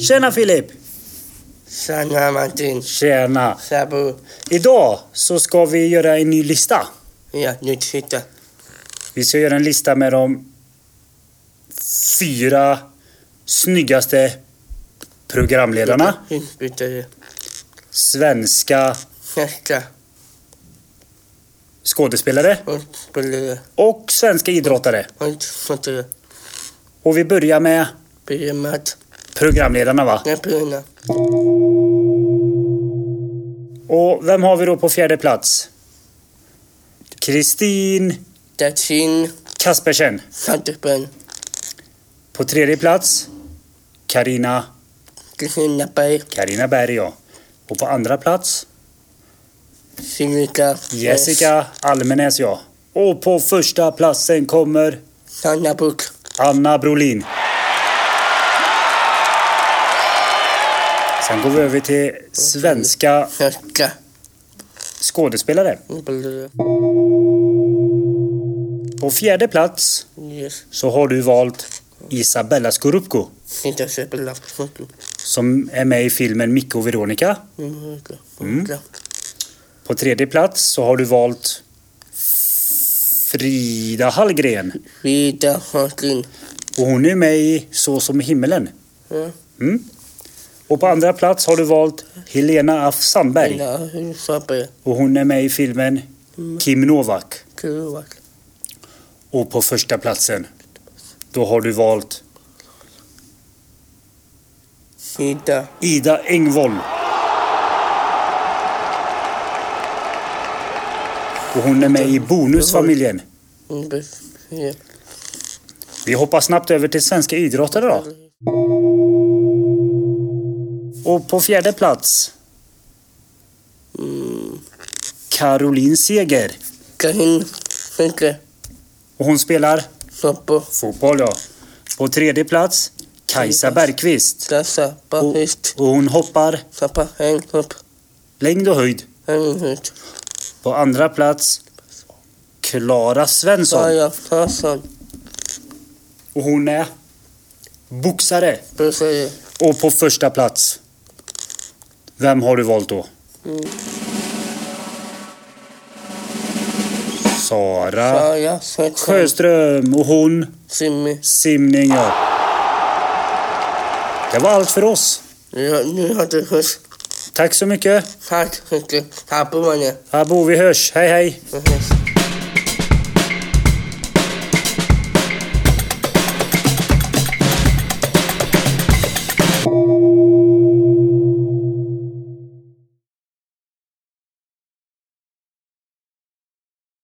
Tjena Filip! Tjena Martin. Tjena! Sabo. Idag så ska vi göra en ny lista. Ja, nu titta. Vi ska göra en lista med de fyra snyggaste programledarna. Inspelare. Svenska Nästa. skådespelare Fotbollare. och svenska idrottare. Fotbollare. Och vi börjar med Berömmat. programledarna va? Näpparna. Och vem har vi då på fjärde plats? Kristin Datin. Kaspersen. Fattigbarn. På tredje plats Karina Kristina Berg. Karina Berg ja. Och på andra plats Silvika. Jessica Almenäs ja. Och på första platsen kommer Sanna Bok. Anna Brolin. Sen går vi över till svenska Nästa. skådespelare. Fotbollare. På fjärde plats Yes. så har du valt Isabella Scorupco Titta sig på lappfoto. som är med i filmen Micke och Veronica. Mm. På tredje plats så har du valt Frida Hallgren Frida Haglin. och hon är med i Så som i himmelen. Ja. Mm. Och på andra plats har du valt Helena af Sandberg Lilla Husfabre. och hon är med i filmen Kim Novak. Kurvak. Och på första platsen då har du valt Frida. Ida Engvall. Och hon är med i Bonusfamiljen. Ingves. Ja. Vi hoppar snabbt över till svenska idrottare då. Och på fjärde plats Mm. Caroline Seger. Kahin Fenke Och hon spelar Soppo fotboll ja. På tredje plats Kajsa Bergqvist. Dasa Bahist Och hon hoppar Sappa Hänghopp längd och höjd. Hänghut På andra plats Klara Svensson. Kaja Claesson Och hon är boxare. Busse Och på första plats. Vem har du valt då? Sara Kaja Svensson Sjöström och hon Simmy simning ja. Det var allt för oss. Ja, nu har du hört Tack så mycket. Tack så mycket Tack på mig Abo, vi hörs. Hej hej! Vi hörs